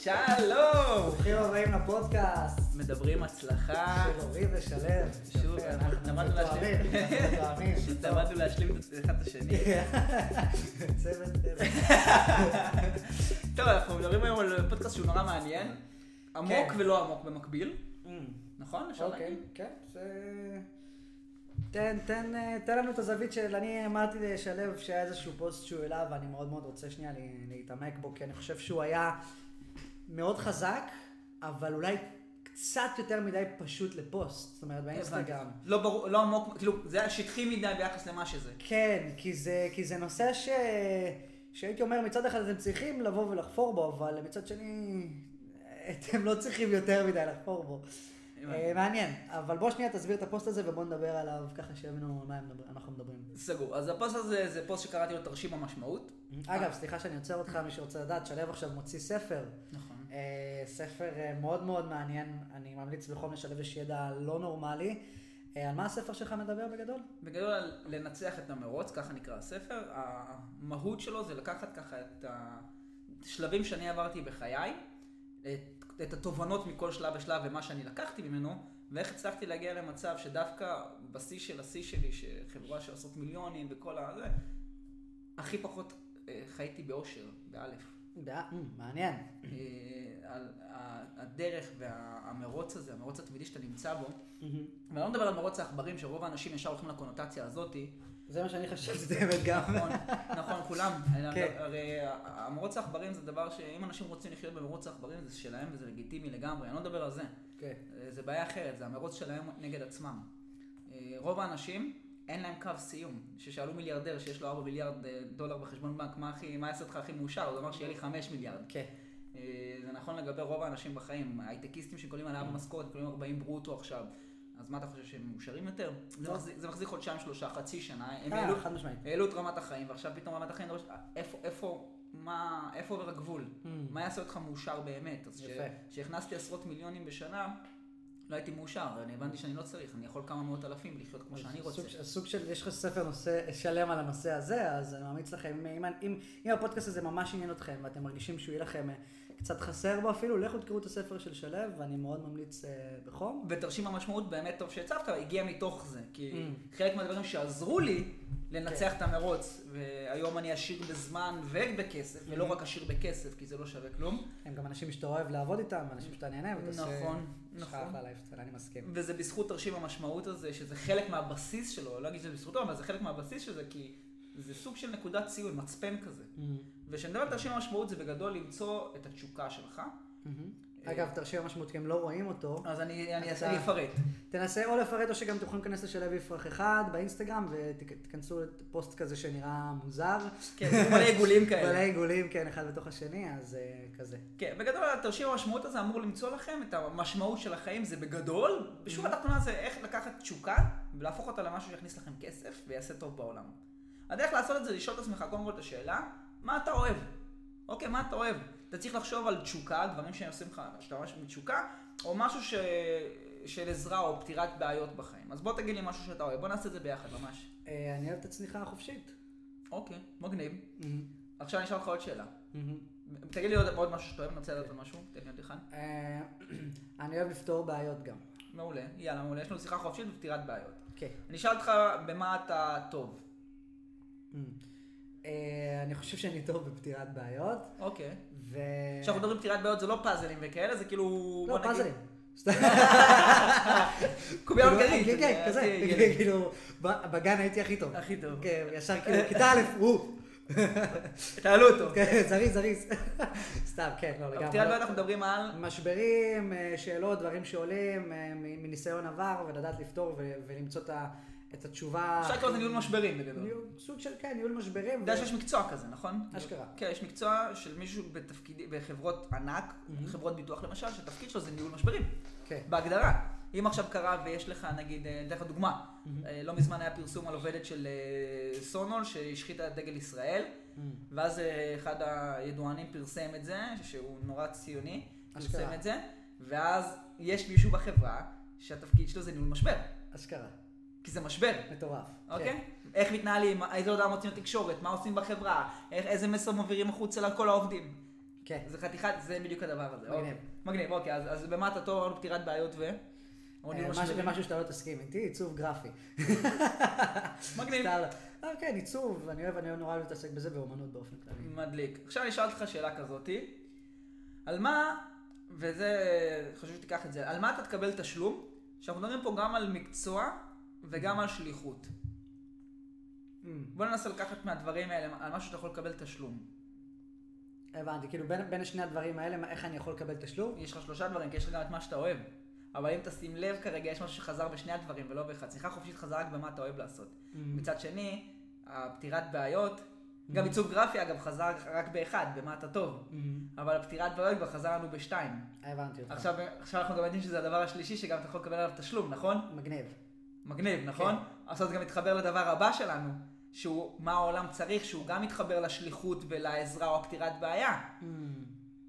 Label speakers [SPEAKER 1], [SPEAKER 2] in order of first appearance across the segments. [SPEAKER 1] שלום!
[SPEAKER 2] ברוכים הבאים לפודקאסט
[SPEAKER 1] מדברים הצלחה.
[SPEAKER 2] של אורי ושלו.
[SPEAKER 1] שוב,
[SPEAKER 2] יפה,
[SPEAKER 1] אנחנו למדנו
[SPEAKER 2] מתואמים,
[SPEAKER 1] להשלים.
[SPEAKER 2] אנחנו מתואמים.
[SPEAKER 1] למדנו להשלים את אחד את השני.
[SPEAKER 2] צוות טבע.
[SPEAKER 1] טוב, אנחנו מדברים היום על פודקאסט שהוא נורא מעניין. עמוק
[SPEAKER 2] כן.
[SPEAKER 1] ולא עמוק במקביל, נכון? אפשר
[SPEAKER 2] Mm. אוקיי,
[SPEAKER 1] להגיד?
[SPEAKER 2] כן, זה- תן, תן, אה, תן לנו את הזווית של, אני אמרתי לשלו שהיה איזשהו פוסט שהוא העלה ואני מאוד מאוד רוצה שנייה לה- להתעמק בו, כי אני חושב שהוא היה מאוד חזק, אבל אולי קצת יותר מדי פשוט לפוסט, זאת אומרת באינסטגרם.
[SPEAKER 1] הבנתי. לא ברור, לא עמוק, כאילו, זה היה שטחי מדי ביחס למה שזה.
[SPEAKER 2] כן, כי זה, כי זה נושא ש... שהייתי אומר, מצד אחד אתם צריכים לבוא ולחפור בו, אבל מצד שני, אתם לא צריכים יותר מדי לחפור בו.
[SPEAKER 1] הבנתי.
[SPEAKER 2] אה, מעניין, אבל בוא שנייה תסביר את הפוסט הזה ובוא נדבר עליו ככה שיהיה לנו על מה הם מדבר- אנחנו מדברים.
[SPEAKER 1] סגור. אז הפוסט הזה זה פוסט שקראתי לו תרשים המשמעות.
[SPEAKER 2] אגב, סליחה שאני עוצר אותך, מי שרוצה לדעת, שלו עכשיו מוציא ספר.
[SPEAKER 1] נכון.
[SPEAKER 2] אה, ספר אה, מאוד מאוד מעניין, אני ממליץ בחום לשלב יש ידע לא נורמלי. אה, על מה הספר שלך מדבר בגדול?
[SPEAKER 1] בגדול על לנצח את המרוץ, ככה נקרא הספר. המהות שלו זה לקחת ככה את השלבים שאני עברתי בחיי, את, את התובנות מכל שלב ושלב ומה שאני לקחתי ממנו, ואיך הצלחתי להגיע למצב שדווקא בשיא של השיא שלי, שחברה שעושות מיליונים וכל הזה, הכי פחות אה, חייתי באושר, באלף.
[SPEAKER 2] דעה, מ, Mm, מעניין.
[SPEAKER 1] אה, על ה- הדרך והמרוץ הזה, המרוץ התמידי שאתה נמצא בו. ואני לא מדבר על מרוץ העכברים, שרוב האנשים ישר הולכים לקונוטציה הזאתי.
[SPEAKER 2] זה מה שאני חשבתי באמת גם.
[SPEAKER 1] נכון, נכון, כולם.
[SPEAKER 2] כן.
[SPEAKER 1] הרי המרוץ העכברים זה דבר שאם אנשים רוצים לחיות במרוץ העכברים זה שלהם וזה לגיטימי לגמרי, אני לא מדבר על זה.
[SPEAKER 2] כן.
[SPEAKER 1] אה, זה בעיה אחרת, זה המרוץ שלהם נגד עצמם. אה, רוב האנשים, אין להם קו סיום. כששאלו מיליארדר שיש לו 4 מיליארד אה, דולר בחשבון בנק, מה הכי- מה יעשה אותך הכי מאושר? הוא אמר שיהיה לי 5 מיליארד.
[SPEAKER 2] כן.
[SPEAKER 1] אה, זה נכון לגבי רוב האנשים בחיים, הייטקיסטים שקולים על ארבע משכורת, קולים 40 ברוטו עכשיו. אז מה אתה חושב שהם מאושרים יותר? זה
[SPEAKER 2] לא.
[SPEAKER 1] מחזיק- זה מחזיק חודשיים, שלושה, חצי שנה. הם
[SPEAKER 2] אה,
[SPEAKER 1] העלו-
[SPEAKER 2] חד משמעית.
[SPEAKER 1] העלו את רמת החיים, ועכשיו פתאום רמת החיים דורשת, איפה, איפה, מה, איפה עובר הגבול?
[SPEAKER 2] Hmm.
[SPEAKER 1] מה יעשה אותך מאושר באמת? אז
[SPEAKER 2] Mm. יפה.
[SPEAKER 1] כשהכנסתי עשרות מיליונים בשנה, לא הייתי מאושר, אני הבנתי שאני לא צריך, אני יכול כמה מאות אלפים לחיות כמו שאני רוצה.
[SPEAKER 2] סוג, סוג של, יש לך ספר נושא, שלם על הנושא הזה, אז אני ממליץ לכם, אם, אם, אם הפודקאסט הזה ממש עניין אתכם ואתם מרגישים שהוא יהיה לכם אה, קצת חסר בו אפילו, לכו תקראו את הספר של שלו, ואני מאוד ממליץ אה, בחום.
[SPEAKER 1] ותרשים המשמעות באמת טוב שהצבת, הגיע מתוך זה, כי
[SPEAKER 2] Mm.
[SPEAKER 1] חלק מהדברים שעזרו לי
[SPEAKER 2] כן.
[SPEAKER 1] לנצח את המרוץ, והיום אני עשיר בזמן ובכסף, ולא
[SPEAKER 2] Mm-hmm.
[SPEAKER 1] רק עשיר בכסף, כי זה לא שווה כלום.
[SPEAKER 2] הם גם אנשים שאתה אוהב לעבוד איתם, אנשים שאתה נהנה ותעשה...
[SPEAKER 1] נכון,
[SPEAKER 2] יש לך
[SPEAKER 1] נכון.
[SPEAKER 2] אחלה לייפסטייל, אני מסכים.
[SPEAKER 1] וזה בזכות תרשים המשמעות הזה, שזה חלק מהבסיס שלו, לא אגיד שזה בזכותו, אבל זה חלק מהבסיס של זה, כי זה סוג של נקודת ציון, מצפן כזה. וכשאני מדבר על תרשים המשמעות, זה בגדול למצוא את התשוקה שלך. Mm-hmm.
[SPEAKER 2] אגב, תרשים המשמעות, כי הם לא רואים אותו.
[SPEAKER 1] אז אני אני
[SPEAKER 2] אתה-
[SPEAKER 1] אני אפרט.
[SPEAKER 2] תנסה או לפרט או שגם אתם יכולים להיכנס לשלב יפרח אחד באינסטגרם ותיכנסו לפוסט כזה שנראה מוזר.
[SPEAKER 1] כן, זה מלא עיגולים כאלה.
[SPEAKER 2] מלא עיגולים, כן, אחד בתוך השני, אז אה, כזה.
[SPEAKER 1] כן, בגדול התרשים המשמעות הזה אמור למצוא לכם את המשמעות של החיים, זה בגדול, בשורה התחתונה זה איך לקחת תשוקה ולהפוך אותה למשהו שיכניס לכם כסף ויעשה טוב בעולם. הדרך לעשות את זה לשאול את עצמך קודם כל את השאלה, מה אתה אוהב? אוקיי, מה אתה אוהב? אתה צריך לחשוב על תשוקה, דברים שעושים לך, שאתה ממש מתשוקה, או משהו ש... של עזרה או פתירת בעיות בחיים. אז בוא תגיד לי משהו שאתה אוהב, בוא נעשה את זה ביחד ממש.
[SPEAKER 2] אה, אני אוהב את הצניחה החופשית.
[SPEAKER 1] אוקיי, מגניב. עכשיו אני אשאל אותך עוד שאלה. תגיד לי עוד, עוד משהו שאתה אוהב, אני רוצה לדעת עוד משהו, תן לי עוד אחד.
[SPEAKER 2] אה, אני אוהב לפתור בעיות גם.
[SPEAKER 1] מעולה, יאללה מעולה, יש לנו שיחה חופשית ופתירת בעיות.
[SPEAKER 2] כן.
[SPEAKER 1] אני אשאל אותך במה אתה טוב.
[SPEAKER 2] Mm. אה, אני חושב שאני טוב בפתירת בעיות,
[SPEAKER 1] אוקיי.
[SPEAKER 2] ו...
[SPEAKER 1] כשאנחנו מדברים פתירת בעיות זה לא פאזלים וכאלה, זה כאילו... בוא
[SPEAKER 2] לא,
[SPEAKER 1] נגיד,
[SPEAKER 2] פאזלים.
[SPEAKER 1] קובייה
[SPEAKER 2] כאילו,
[SPEAKER 1] מקרית.
[SPEAKER 2] כן, כן, כזה. כאילו, ב- בגן הייתי הכי טוב.
[SPEAKER 1] אה, אוקיי, הכי טוב.
[SPEAKER 2] כן, ישר כאילו, כיתה א', הוא.
[SPEAKER 1] תעלו אותו.
[SPEAKER 2] כן, זריז, זריז. סתם, כן, לא, לגמרי.
[SPEAKER 1] פתירת בעיות אנחנו מדברים על...
[SPEAKER 2] משברים, אה, שאלות, דברים שעולים אה, מ- מניסיון עבר, ולדעת לפתור ו- ולמצוא את ה- את התשובה.
[SPEAKER 1] אפשר לקרוא לזה ניהול משברים בגדול.
[SPEAKER 2] ניהול- סוג של, כן, ניהול משברים.
[SPEAKER 1] אתה יודע
[SPEAKER 2] ו-
[SPEAKER 1] שיש מקצוע כזה, נכון?
[SPEAKER 2] אשכרה.
[SPEAKER 1] כן, יש מקצוע של מישהו בתפקיד- בחברות ענק, חברות ביטוח למשל, שהתפקיד שלו זה ניהול משברים.
[SPEAKER 2] כן.
[SPEAKER 1] בהגדרה. אם עכשיו קרה ויש לך, נגיד, אה, אני אתן לך דוגמה, אה, לא מזמן היה פרסום על עובדת של אה, סונול שהשחיתה את דגל ישראל, ואז אה, אחד הידוענים פרסם את זה, שהוא נורא ציוני, פרסם
[SPEAKER 2] אשכרה.
[SPEAKER 1] את זה, ואז יש מישהו בחברה שהתפקיד שלו זה ניהול משבר,
[SPEAKER 2] אשכרה.
[SPEAKER 1] כי זה משבר.
[SPEAKER 2] מטורף. כן,
[SPEAKER 1] אוקיי? איך אה, מתנהלים, איזה הודעה מוצאים לתקשורת, מה עושים בחברה, איך- איזה מסר מעבירים החוצה לכל העובדים.
[SPEAKER 2] כן.
[SPEAKER 1] זה חתיכת, זה בדיוק הדבר הזה.
[SPEAKER 2] מגניב.
[SPEAKER 1] אוקיי. מגניב, אוקיי, אז, אז במה אתה טוב, אמרנו פתירת בעיות ו... אמרנו
[SPEAKER 2] אה,
[SPEAKER 1] מה
[SPEAKER 2] משהו-
[SPEAKER 1] שזה-
[SPEAKER 2] משהו שאתה לא תסכים איתי, עיצוב גרפי.
[SPEAKER 1] מגניב.
[SPEAKER 2] סתם. אה, כן, עיצוב, אני אוהב, אני אוהב נורא להתעסק בזה באומנות באופן כללי.
[SPEAKER 1] מדליק. עכשיו אני אשאל אותך שאלה כזאתי, על מה, וזה, חשוב שתיקח את זה, על מה אתה תקבל תשלום? שאנחנו מדברים פה גם על מקצוע וגם על שליחות.
[SPEAKER 2] אמ,
[SPEAKER 1] בוא ננסה לקחת מהדברים האלה, על משהו שאתה יכול לקבל תשלום.
[SPEAKER 2] הבנתי, כאילו בין בין שני הדברים האלה, מה- איך אני יכול לקבל תשלום?
[SPEAKER 1] יש לך שלושה דברים, כי יש לך גם את מה שאתה אוהב. אבל אם תשים לב כרגע, יש משהו שחזר בשני הדברים ולא באחד. שיחה חופשית חזרה רק במה אתה אוהב לעשות. מצד שני, הפתירת בעיות, גם עיצוב גרפי אגב חזר רק באחד, במה אתה טוב.
[SPEAKER 2] אמ,
[SPEAKER 1] אבל הפתירת בעיות כבר חזר לנו בשתיים.
[SPEAKER 2] נכון. הבנתי אותך.
[SPEAKER 1] Mm. עכשיו, עכשיו אנחנו גם יודעים שזה הדבר השלישי שגם אתה יכול לקבל עליו תשלום, נכון?
[SPEAKER 2] מגניב.
[SPEAKER 1] מגניב, נכון? עכשיו זה גם מתחבר לדבר הבא שלנו, שהוא מה העולם צריך, שהוא גם מתחבר לשליחות ולעזרה או הפתירת בעיה.
[SPEAKER 2] אמ,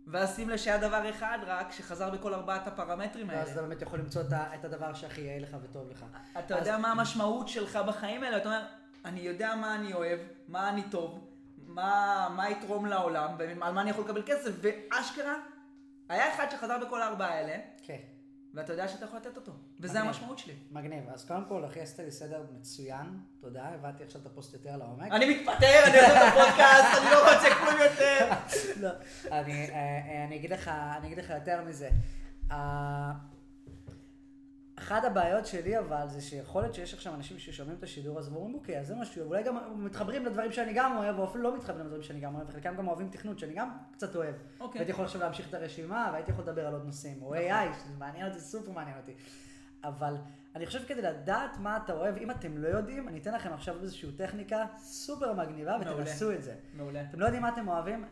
[SPEAKER 1] ואז שים לב שהיה דבר אחד רק שחזר בכל ארבעת הפרמטרים
[SPEAKER 2] ואז
[SPEAKER 1] האלה.
[SPEAKER 2] אתה באמת יכול למצוא את ה- את הדבר שהכי יאה לך וטוב לך.
[SPEAKER 1] אתה
[SPEAKER 2] אז-
[SPEAKER 1] יודע מה המשמעות שלך בחיים האלה, אתה אומר, אני יודע מה אני אוהב, מה אני טוב, מה, מה יתרום לעולם, ועל מה אני יכול לקבל כסף, ואשכרה, היה אחד שחזר בכל הארבעה האלה,
[SPEAKER 2] כן.
[SPEAKER 1] ואתה יודע שאתה יכול לתת אותו, וזה
[SPEAKER 2] מגניב.
[SPEAKER 1] המשמעות שלי.
[SPEAKER 2] מגניב. אז קודם כל, אחי, עשית לי סדר מצוין. תודה, הבנתי עכשיו את הפוסט יותר לעומק.
[SPEAKER 1] אני מתפטר, אני עושה את הפודקאסט, אני לא רוצה כלום יותר.
[SPEAKER 2] לא, אני, אה, אה, אני אגיד לך, אני אגיד לך יותר מזה. אה, אחת הבעיות שלי אבל זה שיכול להיות שיש עכשיו אנשים ששומעים את השידור הזה ואומרים אוקיי אז זה משהו, ואולי גם מתחברים לדברים שאני גם אוהב או אפילו לא מתחברים לדברים שאני גם אוהב, חלקם גם אוהבים תכנות שאני גם קצת אוהב.
[SPEAKER 1] אוקיי. נכון.
[SPEAKER 2] והייתי יכול עכשיו להמשיך את הרשימה והייתי יכול לדבר על עוד נושאים, או AI, שזה מעניין אותי, סופר מעניין אותי. אבל אני חושב כדי לדעת מה אתה אוהב, אם אתם לא יודעים, אני אתן לכם עכשיו איזושהי טכניקה סופר מגניבה
[SPEAKER 1] מעולה.
[SPEAKER 2] ותנסו את זה.
[SPEAKER 1] מעולה.
[SPEAKER 2] אתם לא יודעים מה אתם אוהבים?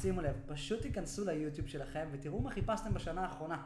[SPEAKER 2] שימו לב, פשוט תיכנסו ליוטיוב שלכם ותראו מה חיפשתם בשנה האחרונה.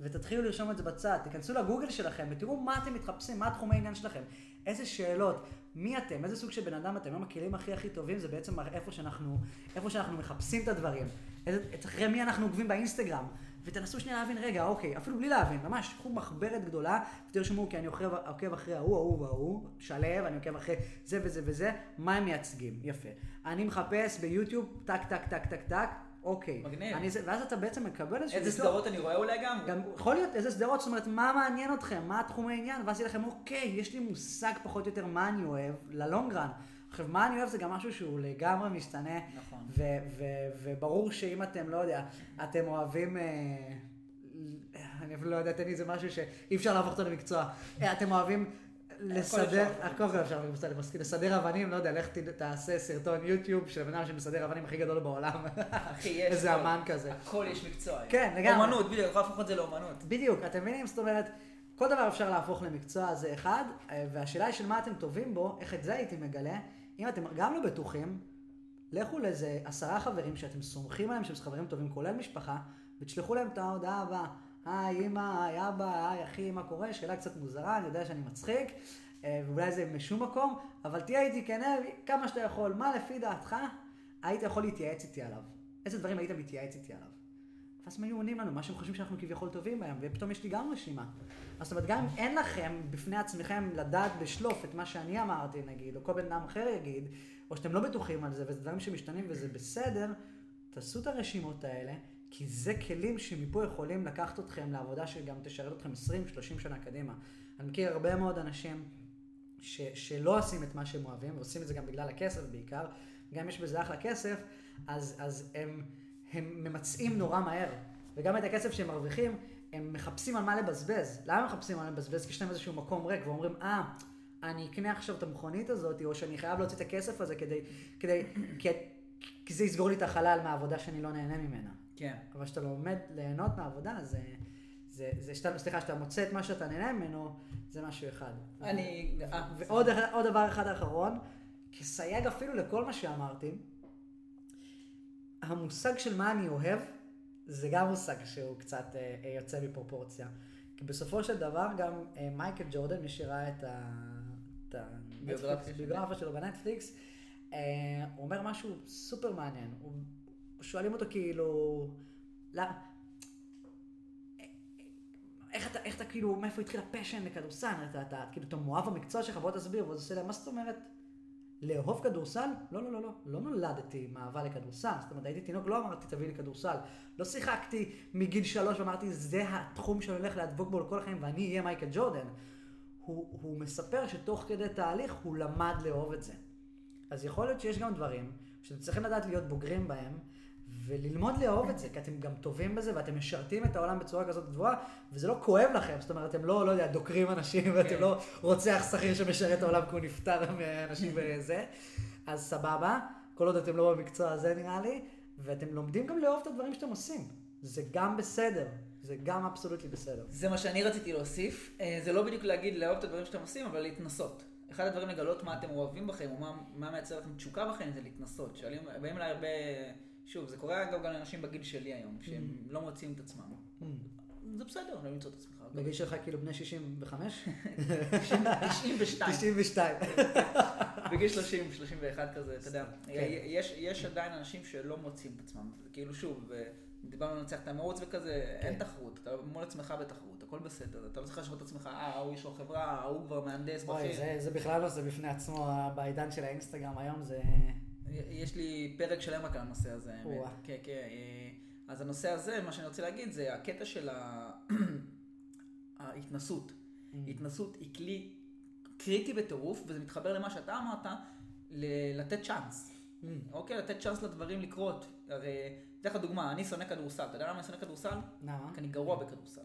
[SPEAKER 2] ותתחילו לרשום את זה בצד, תיכנסו לגוגל שלכם ותראו מה אתם מתחפשים, מה התחומי העניין שלכם, איזה שאלות, מי אתם, איזה סוג של בן אדם אתם, היום הכלים הכי הכי טובים זה בעצם מראה איפה שאנחנו, איפה שאנחנו מחפשים את הדברים, איזה, את אחרי מי אנחנו עוקבים באינסטגרם, ותנסו שנייה להבין, רגע, אוקיי, אפילו בלי להבין, ממש, קחו מחברת גדולה, ותרשמו, כי אני עוקב, עוקב אחרי ההוא, ההוא וההוא, שלו, אני עוקב אחרי זה וזה וזה, מה הם מייצגים, יפה. אני מחפש ביוטיוב, טק, טק, טק, טק, טק, אוקיי.
[SPEAKER 1] מגניב.
[SPEAKER 2] אני זה, ואז אתה בעצם מקבל איזשהו...
[SPEAKER 1] איזה
[SPEAKER 2] ניתוח.
[SPEAKER 1] סדרות אני רואה אולי גם?
[SPEAKER 2] לא. גם יכול להיות איזה סדרות, זאת אומרת, מה מעניין אתכם, מה התחום העניין, ואז יהיה לכם, אוקיי, יש לי מושג פחות או יותר מה אני אוהב ללונגרן. עכשיו, מה אני אוהב זה גם משהו שהוא לגמרי משתנה,
[SPEAKER 1] נכון.
[SPEAKER 2] ו- ו- וברור שאם אתם, לא יודע, אתם אוהבים... אה, אני אפילו לא יודע, תן לי איזה משהו שאי אפשר להפוך אותו למקצוע. אה, אתם אוהבים לסדר,
[SPEAKER 1] אפשר.
[SPEAKER 2] הכל גם אפשר להפוך אותו למסכים, לסדר אבנים, לא יודע, לך ת- תעשה סרטון יוטיוב של הבן אדם שמסדר אבנים הכי גדול בעולם.
[SPEAKER 1] אחי, יש.
[SPEAKER 2] איזה
[SPEAKER 1] הכל.
[SPEAKER 2] אמן כזה.
[SPEAKER 1] הכל יש מקצוע.
[SPEAKER 2] כן, לגמרי.
[SPEAKER 1] אומנות, בדיוק, יכול להפוך את זה לאומנות.
[SPEAKER 2] בדיוק, אתם מבינים? זאת אומרת, כל דבר אפשר להפוך למקצוע זה אחד, אה, והשאלה היא של מה אתם טובים בו, איך את זה הייתי מגלה. אם אתם גם לא בטוחים, לכו לאיזה עשרה חברים שאתם סומכים עליהם שהם חברים טובים, כולל משפחה, ותשלחו להם את ההודעה הבאה. היי אמא, היי אבא, היי אחי, מה קורה? שאלה קצת מוזרה, אני יודע שאני מצחיק, אה, ואולי זה משום מקום, אבל תהיה איתי כנה כמה שאתה יכול. מה לפי דעתך היית יכול להתייעץ איתי עליו? איזה דברים היית מתייעץ איתי עליו? ואז הם היו עונים לנו מה שהם חושבים שאנחנו כביכול טובים בהם, ופתאום יש לי גם רשימה. אז זאת אומרת, גם אם אין לכם בפני עצמכם לדעת בשלוף את מה שאני אמרתי נגיד, או כל בן אדם אחר יגיד, או שאתם לא בטוחים על זה, וזה דברים שמשתנים וזה בסדר, תעשו את הרשימות האלה, כי זה כלים שמפה יכולים לקחת אתכם לעבודה שגם תשרת אתכם 20-30 שנה קדימה. אני מכיר הרבה מאוד אנשים ש, שלא עושים את מה שהם אוהבים, ועושים את זה גם בגלל הכסף בעיקר, גם יש בזה אחלה כסף, אז, אז הם, הם ממצעים נורא מהר. וגם את הכסף שהם מרוויחים, הם מחפשים על מה לבזבז. למה הם מחפשים על מה לבזבז? כי יש להם איזשהו מקום ריק, ואומרים, אה, אני אקנה עכשיו את המכונית הזאת, או שאני חייב להוציא את הכסף הזה כדי, כדי, כי, כי זה יסגור לי את החלל מהעבודה שאני לא נהנה ממנה.
[SPEAKER 1] כן.
[SPEAKER 2] אבל כשאתה לומד ליהנות מהעבודה, זה, זה, זה שאתה, סליחה, שאתה מוצא את מה שאתה נהנה ממנו, זה משהו אחד.
[SPEAKER 1] אני... אה,
[SPEAKER 2] ועוד עוד דבר אחד אחרון, כסייג אפילו לכל מה שאמרתי, המושג של מה אני אוהב, זה גם מושג שהוא קצת אה, אה, יוצא מפרופורציה. כי בסופו של דבר גם אה, מייקל ג'ורדן, מי שראה את ה... את ה-
[SPEAKER 1] ביוגרפיה
[SPEAKER 2] נטפליקס-
[SPEAKER 1] שלו.
[SPEAKER 2] ביוגרפיה שלו בנטפליקס, אה, הוא אומר משהו סופר מעניין. הוא- שואלים אותו כאילו, למה? איך אתה, איך אתה כאילו, מאיפה התחיל הפשן לכדורסל? אתה, אתה, כאילו, אתה מאוהב במקצוע שלך, בוא תסביר, ואז עושה להם, מה זאת אומרת? לאהוב כדורסל? לא, לא, לא, לא. לא נולדתי עם אהבה לכדורסל. זאת אומרת, הייתי תינוק, לא אמרתי, תביא לי כדורסל. לא שיחקתי מגיל שלוש ואמרתי, זה התחום שאני הולך להדבוק בו לכל החיים ואני אהיה מייקל ג'ורדן. הוא, הוא מספר שתוך כדי תהליך הוא למד לאהוב את זה. אז יכול להיות שיש גם דברים שאתם צריכים לדעת להיות בוגרים בהם, וללמוד לאהוב את זה, כי אתם גם טובים בזה, ואתם משרתים את העולם בצורה כזאת גבוהה, וזה לא כואב לכם, זאת אומרת, אתם לא, לא יודע, דוקרים אנשים, ואתם לא רוצח שכיר שמשרת את העולם כי הוא נפטר מאנשים וזה, אז סבבה, כל עוד אתם לא במקצוע הזה נראה לי, ואתם לומדים גם לאהוב את הדברים שאתם עושים, זה גם בסדר, זה גם אבסולוטלי בסדר.
[SPEAKER 1] זה מה שאני רציתי להוסיף. אה, זה לא בדיוק להגיד לאהוב את הדברים שאתם עושים, אבל להתנסות. אחד הדברים לגלות מה אתם אוהבים בחיים, או מה, מה מייצר לכם תשוקה בחיים, זה להתנסות. שואלים, באים אליי הרבה, שוב, זה קורה אגב גם לאנשים בגיל שלי היום,
[SPEAKER 2] Mm.
[SPEAKER 1] שהם לא מוצאים את עצמם. זה בסדר, לא למצוא את עצמך.
[SPEAKER 2] בגיל שלך כאילו בני 65?
[SPEAKER 1] 92.
[SPEAKER 2] 92.
[SPEAKER 1] בגיל 30, 31 כזה, אתה יודע.
[SPEAKER 2] כן.
[SPEAKER 1] יש, יש עדיין אנשים שלא מוצאים את עצמם. זה כאילו שוב, אה, דיברנו על לנצח את המרוץ וכזה, אין
[SPEAKER 2] כן.
[SPEAKER 1] תחרות. אתה מול עצמך בתחרות, הכל בסדר. אתה לא צריך להשוות את עצמך, אה, ההוא יש לו חברה, ההוא כבר מהנדס,
[SPEAKER 2] וואי,
[SPEAKER 1] בכיר.
[SPEAKER 2] זה, זה בכלל לא זה בפני עצמו, בעידן של האינסטגרם היום זה...
[SPEAKER 1] יש לי פרק שלם רק על הנושא הזה, האמת.
[SPEAKER 2] וואו.
[SPEAKER 1] כן, כן. אה, אז הנושא הזה, מה שאני רוצה להגיד, זה הקטע של ה- ההתנסות. התנסות היא כלי קריטי בטירוף, וזה מתחבר למה שאתה אמרת, ל- לתת צ'אנס. אוקיי, לתת צ'אנס לדברים לקרות. הרי, אתן לך דוגמה, אני שונא כדורסל. אתה יודע למה אני שונא כדורסל?
[SPEAKER 2] נעמה? Mm.
[SPEAKER 1] כי אני גרוע בכדורסל.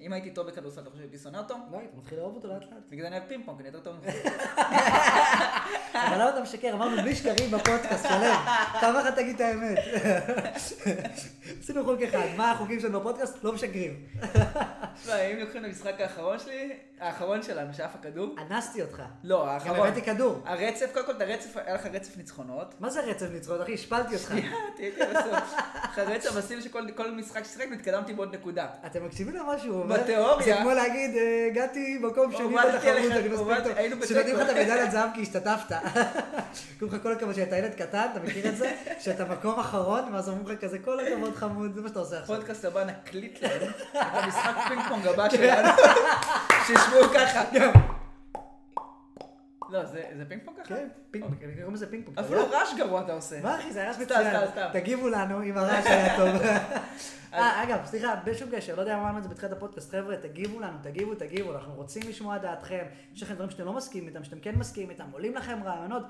[SPEAKER 1] אם הייתי טוב בכדורסל, אתה חושב שהייתי שונא אותו?
[SPEAKER 2] לא, היית מתחיל לאהוב אותו לאט לאט.
[SPEAKER 1] בגלל זה אני אוהב פינג פונג, אני יותר טוב ממך.
[SPEAKER 2] אבל למה אתה משקר? אמרנו בלי שקרים בפודקאסט שלם. פעם אחת תגיד את האמת. עשינו חוק אחד, מה החוקים שלנו בפודקאסט? לא משקרים.
[SPEAKER 1] לא, אם לוקחים את המשחק האחרון שלי, האחרון שלנו, שאף הכדור,
[SPEAKER 2] אנסתי אותך.
[SPEAKER 1] לא,
[SPEAKER 2] גם
[SPEAKER 1] האחרון.
[SPEAKER 2] הבאתי כדור.
[SPEAKER 1] הרצף, קודם כל, את הרצף, היה לך רצף ניצחונות.
[SPEAKER 2] מה זה רצף ניצחונות, אחי? השפלתי אותך.
[SPEAKER 1] תהייתי בסוף. אחרי רצף עשינו שכל כל משחק ששיחק, התקדמתי בעוד נקודה.
[SPEAKER 2] אתם מקשיבים למה שהוא אומר?
[SPEAKER 1] בתיאוריה.
[SPEAKER 2] זה כמו להגיד, אה, הגעתי מקום שני
[SPEAKER 1] הורדתי
[SPEAKER 2] בתחרות,
[SPEAKER 1] עליך,
[SPEAKER 2] אני מספיק
[SPEAKER 1] הורדתי, היינו
[SPEAKER 2] טוב.
[SPEAKER 1] בתיקו.
[SPEAKER 2] שנותנים לך את המדליית זהב כי השתתפת. קוראים לך כל הכבוד שאתה ילד קטן, אתה מכיר את זה? שאתה מקום אחרון, ואז אומרים לך כזה, כל הכבוד חמוד, זה מה שאתה עושה עכשיו.
[SPEAKER 1] פודקאסט הבא נקליט להם את המשחק פינג פונג הבא
[SPEAKER 2] כן.
[SPEAKER 1] שלנו, שישמעו ככה. לא, זה זה פינג פונג ככה?
[SPEAKER 2] כן, פינג פונג, הם קוראים לזה לא. פינג פונג.
[SPEAKER 1] אפילו רעש גרוע אתה עושה.
[SPEAKER 2] מה אחי, זה היה
[SPEAKER 1] סתם,
[SPEAKER 2] מצוין.
[SPEAKER 1] סתם, סתם.
[SPEAKER 2] תגיבו לנו אם הרעש היה טוב. אה, אגב, סליחה, בשום קשר, לא יודע מה אמרנו את זה בתחילת הפודקאסט, חבר'ה, תגיבו לנו, תגיבו, תגיבו, אנחנו רוצים לשמוע דעתכם, יש לכם דברים שאתם לא מסכימים איתם, שאתם כן מסכימים איתם, עולים לכם רעיונות,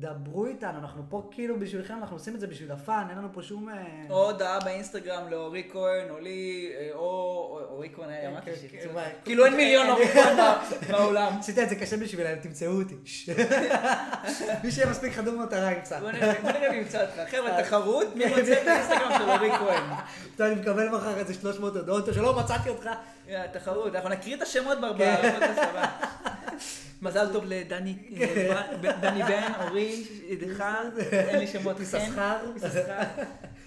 [SPEAKER 2] דברו איתנו, אנחנו פה כאילו בשבילכם, אנחנו עושים את זה בשביל הפאן, אין לנו פה שום... אה,
[SPEAKER 1] או הודעה באינסטגרם לאורי כהן, או לי, אה, או או- אורי כהן, היה, אמרתי
[SPEAKER 2] כן,
[SPEAKER 1] ש-
[SPEAKER 2] כן, וואי.
[SPEAKER 1] כאילו אין מיליון אורי כהן בע- בעולם.
[SPEAKER 2] עשית את זה קשה בשבילם, תמצאו אותי. מי שיהיה מספיק חדור מטרה ימצא.
[SPEAKER 1] בוא נראה בוא נראה מי ימצא אותך. חבר'ה, תחרות, מי מוצא את האינסטגרם של אורי כהן?
[SPEAKER 2] אתה יודע, אני מקבל מחר איזה 300 הודעות, שלא מצאתי אותך.
[SPEAKER 1] יאללה, תחרות, אנחנו נקריא את השמות
[SPEAKER 2] כן.
[SPEAKER 1] ברבר. מזל טוב לדני אה, ב- דני בן, אורי, ידידך, אין לי שמות. כן.
[SPEAKER 2] מסחר.
[SPEAKER 1] מסחר.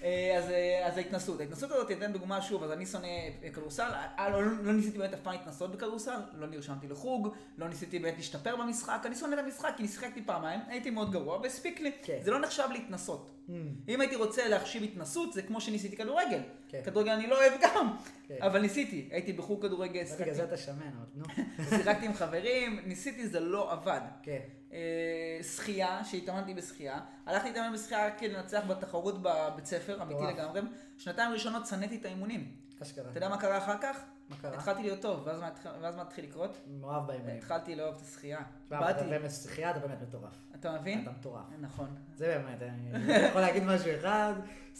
[SPEAKER 1] אה, אז, אה, אז ההתנסות, ההתנסות הזאת, אתן דוגמה שוב, אז אני שונא אה, כדורסל, אה, לא, לא- לא ניסיתי באמת אף פעם להתנסות בכדורסל, לא נרשמתי לחוג, לא ניסיתי באמת להשתפר במשחק, אני שונא את המשחק כי נשחקתי פעמיים, הייתי מאוד גרוע והספיק לי,
[SPEAKER 2] כן.
[SPEAKER 1] זה לא נחשב להתנסות.
[SPEAKER 2] Mm.
[SPEAKER 1] אם הייתי רוצה להחשיב התנסות, זה כמו שניסיתי כדורגל.
[SPEAKER 2] כן.
[SPEAKER 1] כדורגל אני לא אוהב גם,
[SPEAKER 2] כן.
[SPEAKER 1] אבל ניסיתי. הייתי בחוג כדורגל,
[SPEAKER 2] בגלל זה
[SPEAKER 1] שיחקתי-
[SPEAKER 2] אוקיי, אתה שמן, אבל נו.
[SPEAKER 1] שיחקתי עם חברים, ניסיתי, זה לא עבד.
[SPEAKER 2] כן.
[SPEAKER 1] אה, שחייה, שהתאמנתי בשחייה. הלכתי להתאמן בשחייה רק כדי לנצח בתחרות בבית ספר, אמיתי
[SPEAKER 2] מטורף.
[SPEAKER 1] לגמרי. שנתיים ראשונות שנאתי את האימונים.
[SPEAKER 2] אשכרה.
[SPEAKER 1] אתה יודע מה קרה אחר כך?
[SPEAKER 2] מה קרה?
[SPEAKER 1] התחלתי להיות טוב, ואז מה התח- ואז מה התחיל לקרות?
[SPEAKER 2] מאוהב באימונים.
[SPEAKER 1] התחלתי לאהוב את השחייה.
[SPEAKER 2] תשמע, אתה
[SPEAKER 1] אה, באתי,
[SPEAKER 2] באמת שחייה, אתה באמת מטורף.
[SPEAKER 1] אתה מבין?
[SPEAKER 2] אתה מטורף.
[SPEAKER 1] נכון.
[SPEAKER 2] זה באמת, אה, אני יכול להגיד משהו אחד,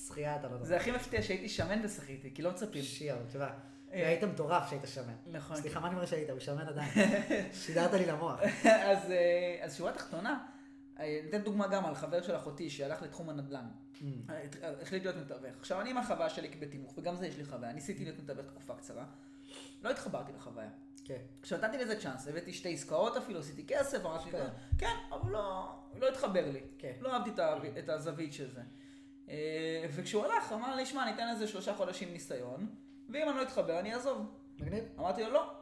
[SPEAKER 2] שחייה אתה לא
[SPEAKER 1] זה
[SPEAKER 2] מטורף.
[SPEAKER 1] הכי מפתיע שהייתי שמן ושחיתי, כי לא מצפים.
[SPEAKER 2] שיער, תשמע.
[SPEAKER 1] אה.
[SPEAKER 2] היית מטורף שהיית שמן.
[SPEAKER 1] נכון.
[SPEAKER 2] סליחה, מה אני אומר שהיית? הוא שמן עדיין. שידרת לי למוח.
[SPEAKER 1] אז, אה, אז שורה תחתונה, אה, ניתן דוגמה גם על חבר של אחותי שהלך לתחום הנדל"ן. אה, הת- אה, החליט להיות מתווך. עכשיו, אני עם החוויה שלי בתיווך, וגם זה יש לי חוויה. ניסיתי להיות מתווך תקופה קצרה. לא התחברתי לחוויה.
[SPEAKER 2] כן.
[SPEAKER 1] עכשיו, נתתי לזה צ'אנס, הבאתי שתי עסקאות אפילו, עשיתי כסף, אמרתי,
[SPEAKER 2] אשכרה.
[SPEAKER 1] כן, אבל לא, לא התחבר לי.
[SPEAKER 2] כן.
[SPEAKER 1] לא אהבתי את ה- את הזווית של זה. אה, וכשהוא הלך, אמר לי, שמע, ניתן לזה שלושה חודשים ניסיון, ואם אני לא אתחבר, אני אעזוב.
[SPEAKER 2] מגניב?
[SPEAKER 1] אמרתי לו, לא.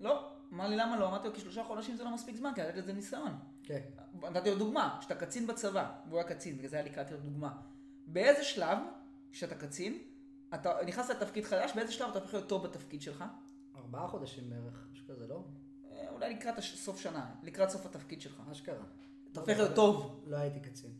[SPEAKER 1] לא. אמר לי, למה לא? אמרתי לו, כי שלושה חודשים זה לא מספיק זמן, כי לתת לזה ניסיון.
[SPEAKER 2] כן.
[SPEAKER 1] נתתי לו דוגמה, שאתה קצין בצבא, והוא היה קצין, בגלל זה היה לי קראתי לו דוגמה. באיזה שלב, כשאתה קצין, אתה נכנס לתפקיד חדש, באיזה שלב אתה הופך להיות טוב בתפקיד שלך?
[SPEAKER 2] ארבעה חודשים בערך, משהו כזה, לא?
[SPEAKER 1] אה, אולי לקראת הש- סוף שנה, לקראת סוף התפקיד שלך.
[SPEAKER 2] אשכרה.
[SPEAKER 1] אתה הופך להיות טוב.
[SPEAKER 2] לא הייתי קצין.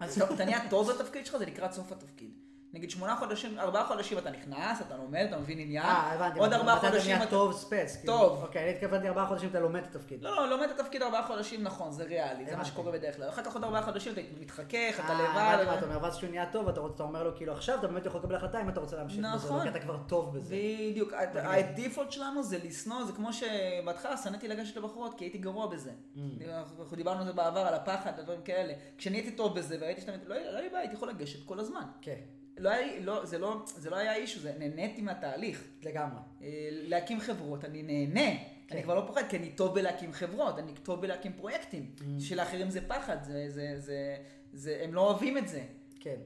[SPEAKER 1] אז לא, אתה נהיה טוב בתפקיד שלך, זה לקראת סוף התפקיד. נגיד שמונה חודשים, ארבעה חודשים אתה נכנס, אתה לומד, אתה מבין עניין.
[SPEAKER 2] אה, הבנתי.
[SPEAKER 1] עוד ארבעה
[SPEAKER 2] מתי אתה
[SPEAKER 1] חודשים
[SPEAKER 2] נהיה טוב ספץ. כאילו.
[SPEAKER 1] טוב.
[SPEAKER 2] אוקיי, אני התכוונתי ארבעה חודשים אתה לומד את התפקיד.
[SPEAKER 1] לא, לא, לומד את התפקיד ארבעה חודשים, נכון, זה ריאלי, זה מה
[SPEAKER 2] הבנתי.
[SPEAKER 1] שקורה בדרך כלל. אחר כך עוד ארבעה חודשים אתה מתחכך, אתה
[SPEAKER 2] אה, הבנתי מה
[SPEAKER 1] לבד.
[SPEAKER 2] אתה אומר, ואז כשהוא נהיה טוב, אתה רוצ- אתה אומר לו, כאילו, עכשיו אתה באמת יכול לקבל החלטה אם אתה רוצה להמשיך בזה.
[SPEAKER 1] נכון.
[SPEAKER 2] נכון. כי אתה כבר טוב בזה.
[SPEAKER 1] בדיוק, הד-
[SPEAKER 2] מגניב.
[SPEAKER 1] הדיפולט שלנו זה לשנוא, זה כמו שבהתחלה שנאתי לגשת לבחורות כי הייתי גרוע בזה.
[SPEAKER 2] Mm.
[SPEAKER 1] אנחנו אנחנו דיברנו על זה בעבר, על הפחד, על דברים כאלה. כשנהייתי טוב בזה וראיתי שאתה... לא היה לא היה לי בעיה, הייתי יכול לגשת כל הזמן.
[SPEAKER 2] כן,
[SPEAKER 1] לא היה- לא- זה לא- זה לא היה אישו, זה נהניתי מהתהליך.
[SPEAKER 2] לגמרי.
[SPEAKER 1] אה, להקים חברות, אני נהנה. אני כבר לא פוחד, כי אני טוב בלהקים חברות, אני טוב בלהקים פרויקטים. שלאחרים זה פחד, זה, זה, זה, זה, הם לא אוהבים את זה.
[SPEAKER 2] כן.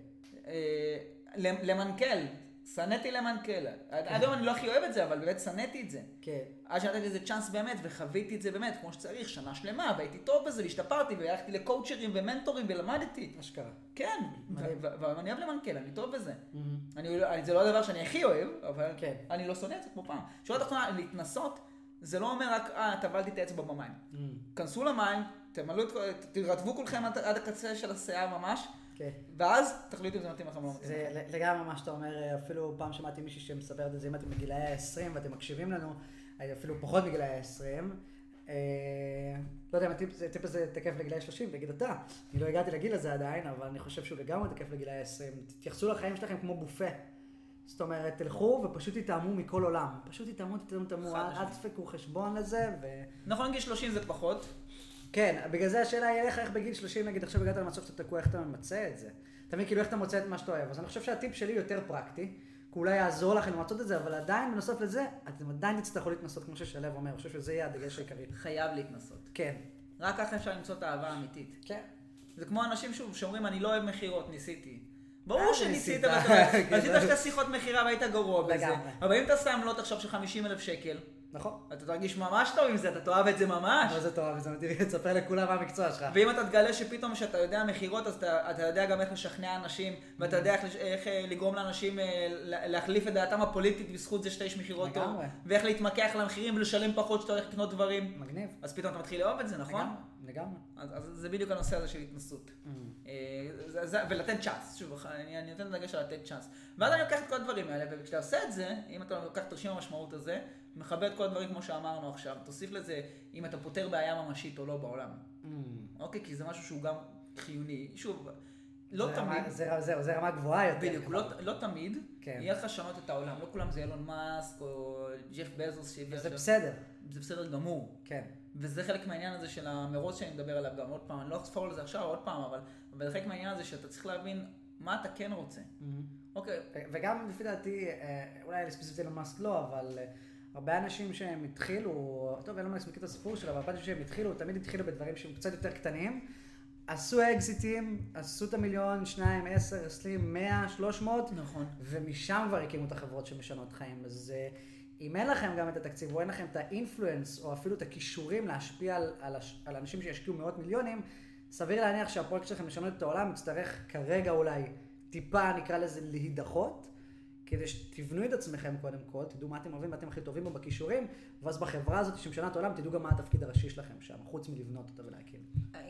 [SPEAKER 1] אה, למנכ"ל, שנאתי למנכ"ל. עד עד היום אני לא הכי אוהב את זה, אבל באמת שנאתי את זה.
[SPEAKER 2] כן.
[SPEAKER 1] עד שנתתי לזה צ'אנס באמת, וחוויתי את זה באמת, כמו שצריך, שנה שלמה, והייתי טוב בזה, והשתפרתי, והלכתי לקואוצ'רים ומנטורים ולמדתי.
[SPEAKER 2] אשכרה.
[SPEAKER 1] כן,
[SPEAKER 2] מדהים.
[SPEAKER 1] ואני אוהב למנכ"ל, אני טוב בזה. אני, לא- אני- זה לא הדבר שאני הכי אוהב, אבל
[SPEAKER 2] Mm-hmm. כן.
[SPEAKER 1] אני לא שונא את זה כמו פעם. שורה תחתונה, להתנסות, זה לא אומר רק, אה, טבלתי את האצבע במים. כנסו למים, תמלאו את כל, תרטבו כולכם עד, עד הקצה של השיער ממש,
[SPEAKER 2] כן.
[SPEAKER 1] ואז תחליטו אם זה מתאים לכם או לא מתאים.
[SPEAKER 2] זה ל- לגמרי מה שאתה אומר, אה, אפילו פעם שמעתי מישהי שמספרת את זה, אם אתם בגילאי ה-20 ואתם מקשיבים לנו, אה, אפילו פחות מגילאי ה-20. אה, לא יודע אם הטיפ זה- הטיפ הזה תקף לגילאי 30, תגיד אתה. אני לא הגעתי לגיל הזה עדיין, אבל אני חושב שהוא לגמרי תקף לגילאי 20. תתייחסו לחיים שלכם כמו בופה. זאת אומרת, תלכו ופשוט תטעמו מכל עולם. פשוט תטעמו, תטעמו, תטעמו,
[SPEAKER 1] חד
[SPEAKER 2] אל אל
[SPEAKER 1] משמעית.
[SPEAKER 2] תדפקו חשבון לזה, ו...
[SPEAKER 1] נכון, גיל 30 זה פחות.
[SPEAKER 2] כן, בגלל זה השאלה היא איך, איך בגיל 30, נגיד עכשיו הגעת למצב שאתה תקוע, איך אתה ממצה את זה? אתה מבין, כאילו איך אתה מוצא את מה שאתה אוהב. אז אני חושב שהטיפ שלי יותר פרקטי, כי אולי יעזור לכם למצות את זה, אבל עדיין, בנוסף לזה, אתם עדיין תצטרכו להתנסות, כמו ששלו אומר, אני חושב שזה יהיה הדגש העיקרי.
[SPEAKER 1] חייב להתנסות.
[SPEAKER 2] כן.
[SPEAKER 1] רק ככה אפשר למצוא את האהבה האמיתית.
[SPEAKER 2] כן.
[SPEAKER 1] זה כמו אנשים שוב שאומרים, אני לא אוהב מכירות, ניסיתי.
[SPEAKER 2] אה,
[SPEAKER 1] ברור שניסית,
[SPEAKER 2] ניסית.
[SPEAKER 1] ואתה
[SPEAKER 2] כן.
[SPEAKER 1] עשית שתי שיחות מכירה והיית גרוע בזה.
[SPEAKER 2] לגמרי.
[SPEAKER 1] אבל אם אתה שם לוט עכשיו של 50 אלף שקל,
[SPEAKER 2] נכון.
[SPEAKER 1] אתה תרגיש ממש טוב עם זה, אתה תאהב את זה ממש.
[SPEAKER 2] לא זה טוב, זה מדהים, תספר לכולם מה המקצוע שלך.
[SPEAKER 1] ואם אתה תגלה שפתאום כשאתה יודע מכירות, אז אתה, אתה יודע גם איך לשכנע אנשים, ואתה יודע איך, לש- איך אה, לגרום לאנשים אה, לה- להחליף את דעתם הפוליטית בזכות זה שאתה איש מכירות טוב,
[SPEAKER 2] לגמרי.
[SPEAKER 1] ואיך להתמקח למחירים ולשלם פחות כשאתה הולך לקנות דברים,
[SPEAKER 2] מגניב.
[SPEAKER 1] אז פתאום אתה מתחיל לאהוב את זה, נכון?
[SPEAKER 2] לגמרי, לגמרי.
[SPEAKER 1] אז, אז זה בדיוק הנושא הזה של התנסות. אה, זה- זה- ולתת צ'אנס, שוב, אני, אני נותן דגש על לתת צ'אנס. ואז אני לוקח את כל הדברים האלה, וכשאתה עושה את זה, אם אתה לוקח את תרשים המשמעות הזה, מכבה את כל הדברים כמו שאמרנו עכשיו, תוסיף לזה אם אתה פותר בעיה ממשית או לא בעולם.
[SPEAKER 2] Mm.
[SPEAKER 1] אוקיי, כי זה משהו שהוא גם חיוני. שוב, לא
[SPEAKER 2] זה
[SPEAKER 1] תמיד,
[SPEAKER 2] רמה- זה- זהו, זה רמה גבוהה יותר.
[SPEAKER 1] בדיוק, לא לא תמיד,
[SPEAKER 2] כן.
[SPEAKER 1] יהיה לך לשנות את העולם. לא כולם זה אילון מאסק או ג'ף בזוס שהביא
[SPEAKER 2] זה
[SPEAKER 1] עכשיו.
[SPEAKER 2] בסדר.
[SPEAKER 1] זה בסדר גמור.
[SPEAKER 2] כן.
[SPEAKER 1] וזה חלק מהעניין הזה של המרוץ שאני מדבר עליו גם. עוד פעם, אני לא אחפור על זה עכשיו עוד פעם, אבל אבל זה חלק מהעניין הזה שאתה צריך להבין מה אתה כן רוצה. אוקיי,
[SPEAKER 2] וגם לפי דעתי, אה, אולי ספציפית אילון מאסק לא, אבל אה, הרבה אנשים שהם התחילו, טוב, אילון מאסק מכיר את הסיפור שלו, אבל הרבה אנשים שהם התחילו, תמיד התחילו בדברים שהם קצת יותר קטנים, עשו אקזיטים, עשו את המיליון, שניים, עשר, עשרים, מאה, שלוש מאות,
[SPEAKER 1] נכון.
[SPEAKER 2] ומשם כבר הקימו את החברות שמשנות חיים. אז אה, אם אין לכם גם את התקציב, או אין לכם את האינפלואנס, או אפילו את הכישורים להשפיע על, על, הש- על אנשים שישקיעו מאות מיליונים, סביר להניח שהפרויקט שלכם לשנות את העולם יצטרך כרגע אולי טיפה, נקרא לזה, להידחות. כדי שתבנו את עצמכם קודם כל, תדעו מה אתם אוהבים, מה אתם הכי טובים בו בכישורים, ואז בחברה הזאת שמשנה את העולם, תדעו גם מה התפקיד הראשי שלכם שם, חוץ מלבנות אותה ולהקים.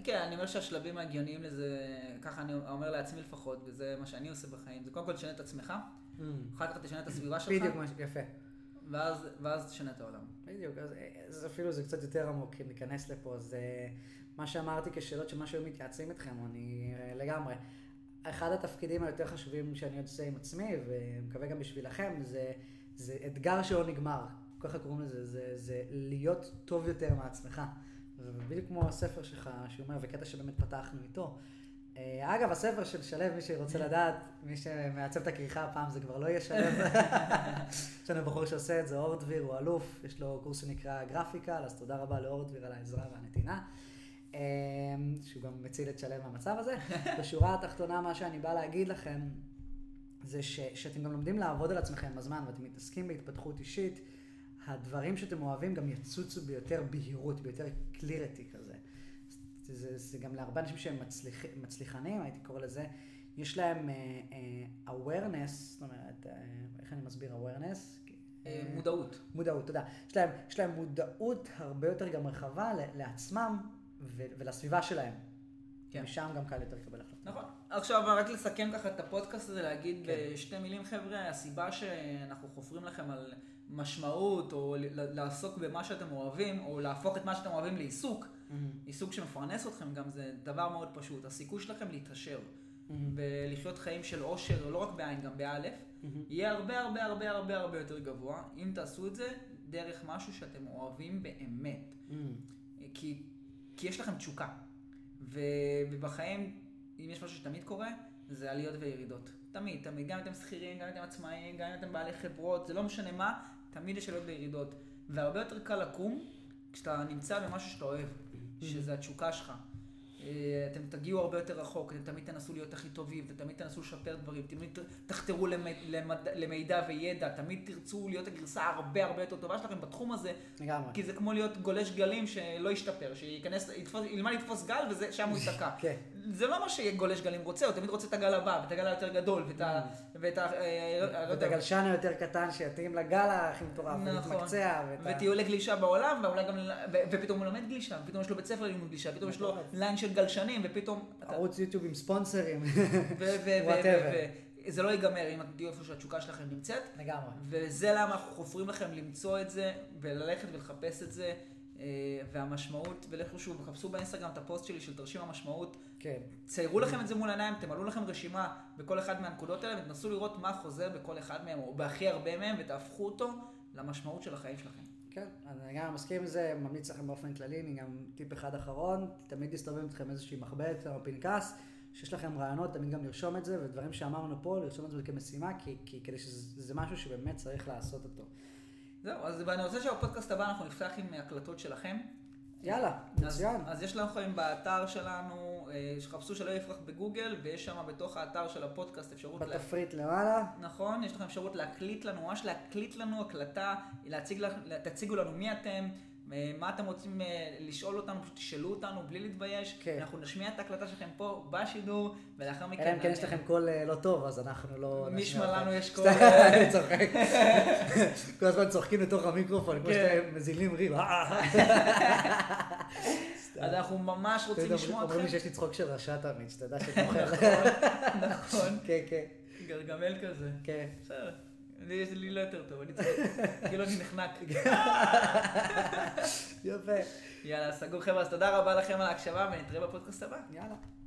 [SPEAKER 1] כן, אני אומר שהשלבים ההגיוניים לזה, ככה אני אומר לעצמי לפחות, וזה מה שאני עושה בחיים, זה קודם כל תשנה את עצמך, אחר כך תשנה את הסביבה שלך,
[SPEAKER 2] בדיוק, מה ש- יפה.
[SPEAKER 1] ואז ואז תשנה את העולם.
[SPEAKER 2] בדיוק, אז, אז אפילו זה קצת יותר עמוק, אם ניכנס לפה, אז אה, מה שאמרתי כשאלות של מה שהיו מתייעצים איתכם, אני אה, לגמרי. אחד התפקידים היותר חשובים שאני עוד עושה עם עצמי, ומקווה גם בשבילכם, זה, זה אתגר שלא נגמר, ככה קוראים לזה, זה, זה להיות טוב יותר מעצמך. ובדיוק כמו הספר שלך, שאומר, וקטע שבאמת פתחנו איתו. אה, אגב, הספר של שלו, מי שרוצה לדעת, מי שמעצב את הכריכה, הפעם זה כבר לא יהיה שלו. יש לנו בחור שעושה את זה, אור דביר, הוא אלוף, יש לו קורס שנקרא גרפיקה, אז תודה רבה לאור דביר על העזרה והנתינה, אמ, שהוא גם מציל את שלם מהמצב הזה. בשורה התחתונה, מה שאני בא להגיד לכם, זה ש, שאתם גם לומדים לעבוד על עצמכם בזמן, ואתם מתעסקים בהתפתחות אישית, הדברים שאתם אוהבים גם יצוצו ביותר בהירות, ביותר קלירטי כזה. זה, זה, זה גם להרבה אנשים שהם מצליח, מצליחנים, הייתי קורא לזה, יש להם uh, uh, awareness, זאת אומרת, uh, איך אני מסביר awareness?
[SPEAKER 1] אה, מודעות.
[SPEAKER 2] מודעות, תודה. יש להם, יש להם מודעות הרבה יותר גם רחבה ל- לעצמם ו- ולסביבה שלהם.
[SPEAKER 1] כן.
[SPEAKER 2] משם גם קל יותר לקבל החלטה.
[SPEAKER 1] נכון. עכשיו, רק לסכם ככה את הפודקאסט הזה, להגיד
[SPEAKER 2] כן.
[SPEAKER 1] בשתי מילים, חבר'ה, הסיבה שאנחנו חופרים לכם על משמעות, או ל- לעסוק במה שאתם אוהבים, או להפוך את מה שאתם אוהבים לעיסוק,
[SPEAKER 2] Mm-hmm.
[SPEAKER 1] עיסוק שמפרנס אתכם גם זה דבר מאוד פשוט. הסיכוי שלכם להתעשר
[SPEAKER 2] Mm-hmm.
[SPEAKER 1] ולחיות חיים של אושר, לא רק בעין, גם באלף,
[SPEAKER 2] Mm-hmm.
[SPEAKER 1] יהיה הרבה הרבה הרבה הרבה הרבה יותר גבוה, אם תעשו את זה דרך משהו שאתם אוהבים באמת. אה, כי, כי יש לכם תשוקה. ו- ובחיים, אם יש משהו שתמיד קורה, זה עליות וירידות. תמיד, תמיד. גם אם אתם שכירים, גם אם אתם עצמאים, גם אם אתם בעלי חברות, זה לא משנה מה, תמיד יש עליות וירידות. והרבה יותר קל לקום כשאתה נמצא במשהו שאתה אוהב, שזה התשוקה שלך. אה, אתם תגיעו הרבה יותר רחוק, אתם תמיד תנסו להיות הכי טובים, אתם תמיד תנסו לשפר דברים, תמיד ת- תחתרו למ- למד- למידע וידע, תמיד תרצו להיות הגרסה הרבה הרבה יותר טובה שלכם בתחום הזה,
[SPEAKER 2] לגמרי.
[SPEAKER 1] כי זה כמו להיות גולש גלים שלא ישתפר, שייכנס, יתפוס, ילמד לתפוס גל ושם הוא ייתקע.
[SPEAKER 2] כן.
[SPEAKER 1] זה לא מה שגולש גלים רוצה, הוא תמיד רוצה את הגל הבא, ואת הגל היותר גדול, ואת ה... ואת ה... אה, לא- לא
[SPEAKER 2] ואת
[SPEAKER 1] יודע,
[SPEAKER 2] הגלשן היותר קטן שיתאים לגל הכי מטורף,
[SPEAKER 1] נכון.
[SPEAKER 2] ולהתמקצע, ואת ה-
[SPEAKER 1] וטיולי גלישה בעולם, ואולי גם... ל- ו- ופתאום הוא לומד גלישה, ופתאום יש לו בית ספר ללימוד גלישה, ופתאום יש לו
[SPEAKER 2] מטורף.
[SPEAKER 1] ליין של גלשנים, ופתאום... אתה-
[SPEAKER 2] ערוץ יוטיוב עם ספונסרים.
[SPEAKER 1] ו- ו- ו-
[SPEAKER 2] whatever.
[SPEAKER 1] ו- זה לא ייגמר אם אתם תהיו איפה שהתשוקה שלכם נמצאת,
[SPEAKER 2] לגמרי.
[SPEAKER 1] וזה למה אנחנו חופרים לכם למצוא את זה, וללכת ולחפש את זה, אה, והמשמעות, ולכו שוב, חפשו באינסטגרם את הפוסט שלי של תרשים המשמעות,
[SPEAKER 2] כן.
[SPEAKER 1] ציירו לכם את זה מול העיניים, תמלאו לכם רשימה בכל אחד מהנקודות האלה, ותנסו לראות מה חוזר בכל אחד מהם, או בהכי הרבה מהם, ותהפכו אותו למשמעות של החיים שלכם.
[SPEAKER 2] כן, אז אני גם מסכים עם זה, ממליץ לכם באופן כללי, אני גם טיפ אחד אחרון, תמיד יסתובב איתכם איזושהי מחברת או פנקס, שיש לכם רעיונות, תמיד גם לרשום את זה, ודברים שאמרנו פה, לרשום את זה כמשימה, כי, כי כדי שזה זה משהו שבאמת צריך לעשות אותו.
[SPEAKER 1] זהו, אז ואני רוצה שהפודקאסט הבא אנחנו נפתח עם הקלטות שלכם.
[SPEAKER 2] יאללה,
[SPEAKER 1] אז,
[SPEAKER 2] מצוין.
[SPEAKER 1] אז יש לכם באתר שלנו, אה, שחפשו שלא יפרח בגוגל, ויש שם בתוך האתר של הפודקאסט אפשרות לה-
[SPEAKER 2] בתפריט למעלה,
[SPEAKER 1] נכון, יש לכם אפשרות להקליט לנו, ממש להקליט לנו הקלטה, להציג לך, תציגו לנו מי אתם, אה, מה אתם רוצים אה, לשאול אותנו, פשוט תשאלו אותנו בלי להתבייש.
[SPEAKER 2] כן.
[SPEAKER 1] אנחנו נשמיע את ההקלטה שלכם פה בשידור, ולאחר מכן...
[SPEAKER 2] אלא אם כן יש
[SPEAKER 1] נענה.
[SPEAKER 2] לכם קול אה, לא טוב, אז אנחנו לא...
[SPEAKER 1] מי
[SPEAKER 2] נשמיע
[SPEAKER 1] שמע
[SPEAKER 2] לכם.
[SPEAKER 1] לנו יש
[SPEAKER 2] סתם,
[SPEAKER 1] קול,
[SPEAKER 2] אני צוחק. כל הזמן צוחקים לתוך המיקרופון, כמו
[SPEAKER 1] כן.
[SPEAKER 2] שאתם מזילים ריב. אה?
[SPEAKER 1] אז אנחנו ממש רוצים לשמוע
[SPEAKER 2] אומרים לי
[SPEAKER 1] אתכם.
[SPEAKER 2] שיש לי צחוק של רשע תמיד, שתדע שתוכל.
[SPEAKER 1] נכון,
[SPEAKER 2] כן, כן,
[SPEAKER 1] גרגמל כזה.
[SPEAKER 2] כן.
[SPEAKER 1] בסדר, לי יש- לי לא יותר טוב, אני צוחק. כאילו אני נחנק.
[SPEAKER 2] יפה.
[SPEAKER 1] יאללה, סגור חבר'ה, אז תודה רבה לכם על ההקשבה, ונתראה בפודקאסט הבא.
[SPEAKER 2] יאללה.